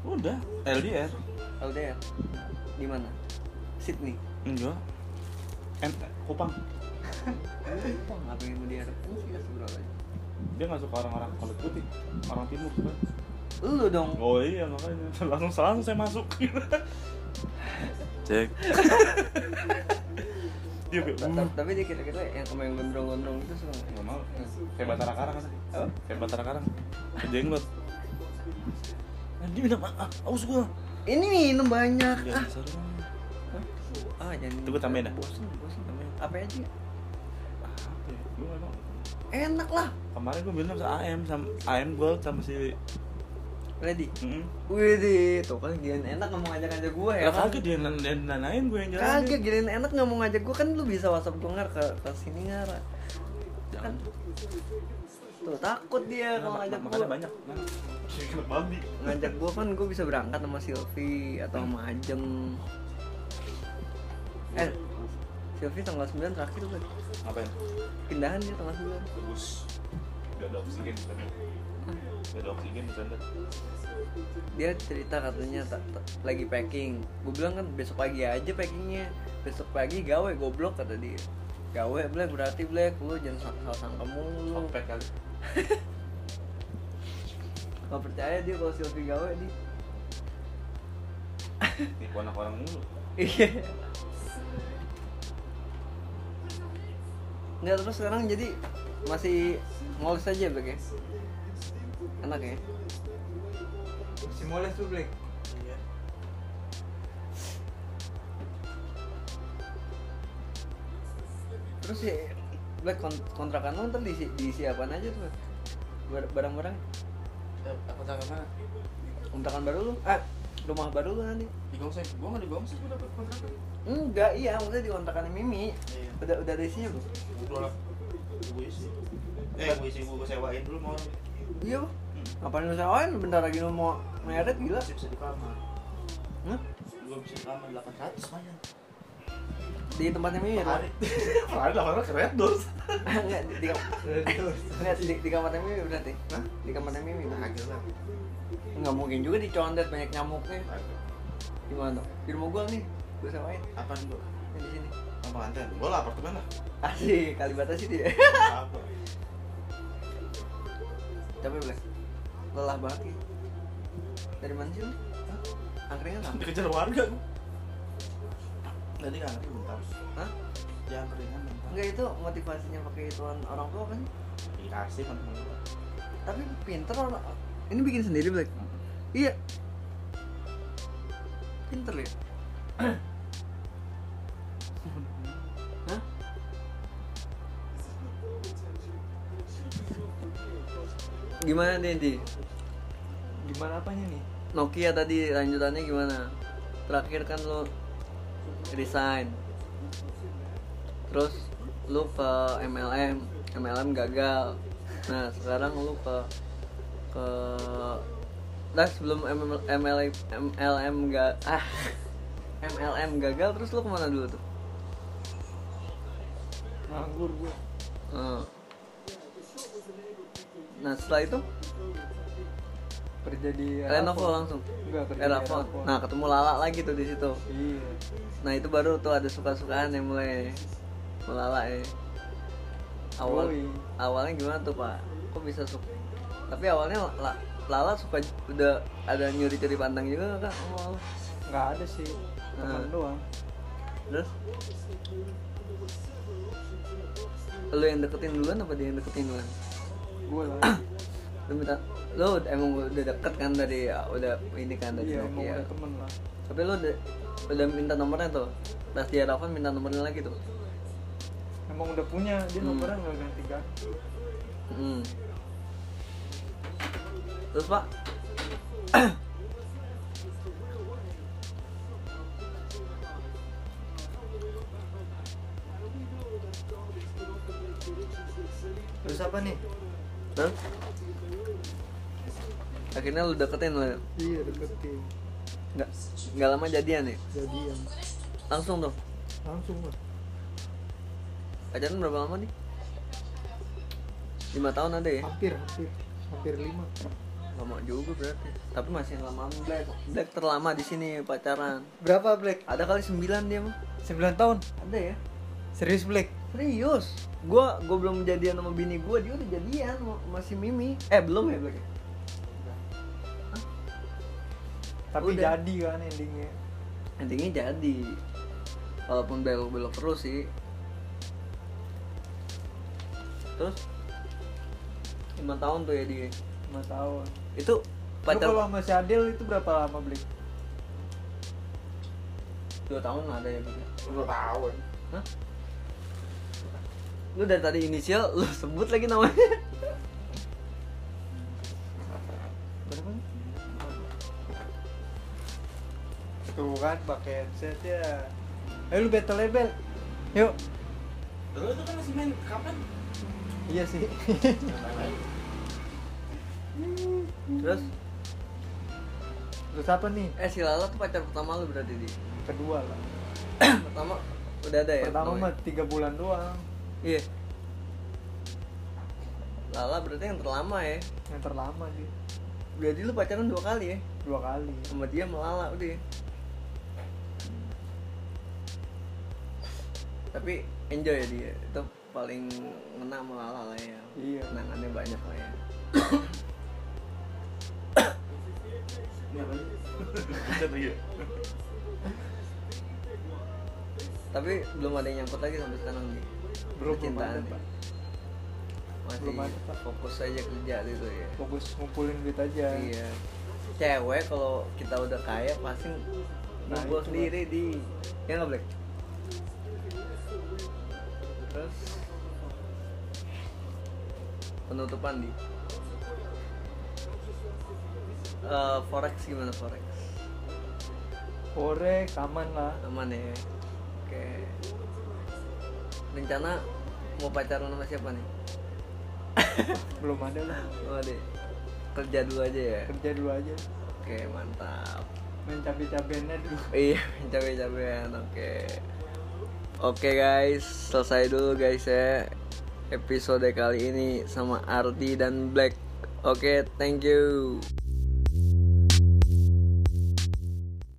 [SPEAKER 4] Udah, LDR.
[SPEAKER 1] LDR di mana? Sydney
[SPEAKER 4] Enggak. En Kupang.
[SPEAKER 1] Kupang apa yang mau diharapkan sih Astagfirullahaladzim
[SPEAKER 4] Dia nggak suka orang-orang kulit putih, orang timur kan.
[SPEAKER 1] Lu dong
[SPEAKER 4] Oh iya makanya langsung langsung saya masuk. Cek. Dia kayak
[SPEAKER 1] Ta- ta- tapi dia kira-kira yang sama yang gondrong-gondrong itu ya? suka nggak?
[SPEAKER 4] Gak mau Kayak Batara Karang kan
[SPEAKER 1] Apa?
[SPEAKER 4] Kayak Batara Karang Kejenggot Nah, dia minta maaf, aus gua
[SPEAKER 1] ini minum banyak ah
[SPEAKER 4] Iya, sorry
[SPEAKER 1] ah jangan
[SPEAKER 4] Itu gua tambahin dah.
[SPEAKER 1] bosan bosan
[SPEAKER 4] Tambahin.
[SPEAKER 1] apa aja
[SPEAKER 4] Apa ya? Lu emang
[SPEAKER 1] enak lah
[SPEAKER 4] Kemarin gua bilang sama AM sama AM gua sama si
[SPEAKER 1] ready
[SPEAKER 4] Heeh.
[SPEAKER 1] wih di tuh kan giliran enak nggak mau ngajak ngajak gue ya
[SPEAKER 4] Lah
[SPEAKER 1] kan?
[SPEAKER 4] kaget dia nan- dia nanain gua yang jalan
[SPEAKER 1] kagak giliran enak nggak mau ngajak gue kan lu bisa whatsapp gue ngar ke ke sini ngar Kan?
[SPEAKER 4] Jangan
[SPEAKER 1] tuh takut dia kalau
[SPEAKER 4] Nah,
[SPEAKER 1] ngajak
[SPEAKER 4] Makannya
[SPEAKER 1] gue
[SPEAKER 4] banyak Nah. Kayak babi
[SPEAKER 1] ngajak gue kan gue bisa berangkat sama Silvi atau sama Ajeng eh Silvi tanggal 9 terakhir lagi
[SPEAKER 4] Ngapain?
[SPEAKER 1] pindahan dia tanggal 9
[SPEAKER 4] Bagus Gak ada oksigen di sana Gak ada oksigen di sana
[SPEAKER 1] dia cerita katanya tak- tak- lagi packing gue bilang kan besok pagi aja packingnya besok pagi gawe goblok kata dia gawe black berarti black lu jangan salah sangka mulu
[SPEAKER 4] Kopek kali
[SPEAKER 1] gak percaya dia kalau Silvi gawe di
[SPEAKER 4] Tipu anak orang mulu
[SPEAKER 1] iya nggak terus sekarang jadi masih ngoles aja black ya enak ya
[SPEAKER 2] si moles tuh Blake
[SPEAKER 5] Iya.
[SPEAKER 1] terus ya black kon- kontrakan lu ntar diisi, diisi apaan aja tuh Black? Bar- barang-barang
[SPEAKER 5] Eh, Aku tangkap mana?
[SPEAKER 1] kontrakan baru lu ah rumah baru lu nanti
[SPEAKER 5] Di gongseng. Gua nggak di gongseng. Gua dapet kontrakan.
[SPEAKER 1] Enggak, iya maksudnya di kontrakan Mimi.
[SPEAKER 5] Iya.
[SPEAKER 1] Udah udah ada isinya, Bro.
[SPEAKER 5] Gua lah. Gua isi. Eh, gua isi gua sewain dulu mau. orang.
[SPEAKER 1] Iya, Bro. Ngapain lu sewain? Bentar lagi lu mau meret gila.
[SPEAKER 5] Masih bisa di kamar.
[SPEAKER 1] Hah?
[SPEAKER 5] Gua bisa di kamar 800 mayan.
[SPEAKER 1] Di tempatnya Mimi. Bro.
[SPEAKER 5] Hari.
[SPEAKER 4] Kemarin orang keren dos
[SPEAKER 1] Enggak, di, di, enggak, di, di kamarnya Mimi berarti.
[SPEAKER 4] Hah?
[SPEAKER 1] Di kamarnya Mimi.
[SPEAKER 4] Kagak lah
[SPEAKER 1] Enggak mungkin juga dicondet banyak nyamuknya.
[SPEAKER 4] Kagak.
[SPEAKER 1] Gimana? Di rumah gua nih, gua sewain
[SPEAKER 5] Apaan gua?
[SPEAKER 1] yang di sini.
[SPEAKER 5] Apa kantin? Gua lah apartemen lah.
[SPEAKER 1] Asik, Kalibata sih dia.
[SPEAKER 5] Apa?
[SPEAKER 1] Capek, Black. Lelah banget ya. Dari mana sih lu? Hah? Angkringan apa?
[SPEAKER 4] Dikejar warga gua.
[SPEAKER 5] Tadi kan aku bentar.
[SPEAKER 1] Hah?
[SPEAKER 5] Jangan keringan bentar.
[SPEAKER 1] Enggak itu motivasinya pakai ituan orang tua kan?
[SPEAKER 5] Dikasih kan temen gua.
[SPEAKER 1] Tapi pinter orang ini bikin sendiri Black. Iya. Pinter ya. Hah? Gimana nih di
[SPEAKER 2] gimana apanya nih
[SPEAKER 1] Nokia tadi lanjutannya gimana? Terakhir kan lo resign. Terus lu ke MLM, MLM gagal. Nah, sekarang lu ke ke Nah, sebelum ML- MLM MLM ga ah MLM gagal terus lu kemana dulu tuh?
[SPEAKER 2] nganggur gue
[SPEAKER 1] Eh. Nah setelah itu
[SPEAKER 2] kerja di
[SPEAKER 1] Lenovo langsung
[SPEAKER 2] enggak Ya, kerja di
[SPEAKER 1] Erafon.
[SPEAKER 2] Erafon.
[SPEAKER 1] Nah ketemu Lala lagi tuh di situ.
[SPEAKER 2] iya
[SPEAKER 1] Nah itu baru tuh ada suka-sukaan yang mulai melala ya. Awal
[SPEAKER 2] Yoi.
[SPEAKER 1] awalnya gimana tuh pak? Kok bisa suka? Tapi awalnya la- la- Lala suka udah ada nyuri-nyuri pantang juga nggak, kak? Oh, Allah.
[SPEAKER 2] nggak ada sih teman
[SPEAKER 1] Hmm.
[SPEAKER 2] doang
[SPEAKER 1] Terus? Lu yang deketin duluan apa dia yang deketin duluan?
[SPEAKER 2] gue lah
[SPEAKER 1] Lu minta, lu emang udah deket kan tadi, ya, udah ini kan tadi
[SPEAKER 2] iya emang
[SPEAKER 1] Nokia.
[SPEAKER 2] udah temen lah
[SPEAKER 1] Tapi lu udah, udah minta nomornya tuh, pas dia telepon minta nomornya lagi tuh.
[SPEAKER 2] emang udah punya dia
[SPEAKER 1] Hmm.
[SPEAKER 2] nomornya nggak ganti kan? ganti
[SPEAKER 1] Hmm. Terus pak?
[SPEAKER 2] terus apa nih
[SPEAKER 1] Terus? Akhirnya lu deketin lu, ya?
[SPEAKER 2] iya deketin
[SPEAKER 1] nggak nggak lama jadian nih,
[SPEAKER 2] jadian
[SPEAKER 1] langsung tuh.
[SPEAKER 2] langsung lah
[SPEAKER 1] Pacaran berapa lama nih? Lima tahun ada ya?
[SPEAKER 2] hampir hampir hampir lima
[SPEAKER 1] Lama juga berarti. Tapi masih lama Black. Black terlama di sini pacaran.
[SPEAKER 2] berapa Black
[SPEAKER 1] Ada kali sembilan dia mah.
[SPEAKER 2] 9 tahun
[SPEAKER 1] Ada ya?
[SPEAKER 2] serius Black
[SPEAKER 1] Serius. Gua gua belum jadian sama bini gua, dia udah jadian sama- sama si Mimi. Eh, belum ya Black? ya?
[SPEAKER 2] tapi
[SPEAKER 1] Udah.
[SPEAKER 2] jadi kan endingnya
[SPEAKER 1] Endingnya jadi. Walaupun belok-belok terus sih. Terus 5 tahun tuh ya dia.
[SPEAKER 2] lima tahun
[SPEAKER 1] Itu
[SPEAKER 2] Lu kalau
[SPEAKER 1] pacar
[SPEAKER 2] sama si Adel itu berapa lama Black
[SPEAKER 1] 2 tahun lah ada ya Black ya?
[SPEAKER 4] Udah tahun
[SPEAKER 1] Hah? Lu dari tadi inisial, lu sebut lagi namanya
[SPEAKER 2] berapa nih? tuh kan pakai headset ya ayo lu battle label yuk
[SPEAKER 4] Dulu tuh kan masih main kapan?
[SPEAKER 2] iya sih
[SPEAKER 1] Terus,
[SPEAKER 2] terus apa nih
[SPEAKER 1] eh si Lala tuh pacar pertama lu berarti di
[SPEAKER 2] kedua lah
[SPEAKER 1] Pertama, udah ada ya?
[SPEAKER 2] pertama
[SPEAKER 1] pertamanya?
[SPEAKER 2] mah tiga bulan doang
[SPEAKER 1] Iya Lala berarti yang terlama ya
[SPEAKER 2] yang terlama sih
[SPEAKER 1] Jadi lu pacaran dua kali ya?
[SPEAKER 2] dua kali
[SPEAKER 1] Sama dia sama Lala udah ya Tapi enjoy ya dia, itu paling ngena sama Lala lah ya
[SPEAKER 2] Iya.
[SPEAKER 1] Kenangannya banyak lah ya
[SPEAKER 4] Iya lagi.
[SPEAKER 3] Pencet
[SPEAKER 4] iya.
[SPEAKER 3] lagi ya?
[SPEAKER 1] tapi belum ada yang nyangkut lagi sampai sekarang nih
[SPEAKER 2] Belum,
[SPEAKER 1] Percintaan
[SPEAKER 2] belum ada,
[SPEAKER 1] nih.
[SPEAKER 2] Pak.
[SPEAKER 1] masih
[SPEAKER 2] Belum ada, Pak.
[SPEAKER 1] fokus aja kerja gitu ya
[SPEAKER 2] fokus ngumpulin duit aja
[SPEAKER 1] iya cewek kalau kita udah kaya pasti
[SPEAKER 2] Nah,
[SPEAKER 1] ngumpul
[SPEAKER 2] itu,
[SPEAKER 1] sendiri di ya nggak black terus penutupan di Eh, forex gimana forex
[SPEAKER 2] korek aman lah
[SPEAKER 1] aman ya oke rencana mau pacaran sama siapa nih
[SPEAKER 2] belum ada lah
[SPEAKER 1] Oh, deh. Kerja dulu aja ya.
[SPEAKER 2] kerja dulu aja
[SPEAKER 1] Oke, mantap.
[SPEAKER 2] main cabai cabainya dulu
[SPEAKER 1] Iya, capek-capekan. Oke. Oke, guys. Selesai dulu, guys ya. Episode kali ini sama Ardi dan Black. Oke, thank you.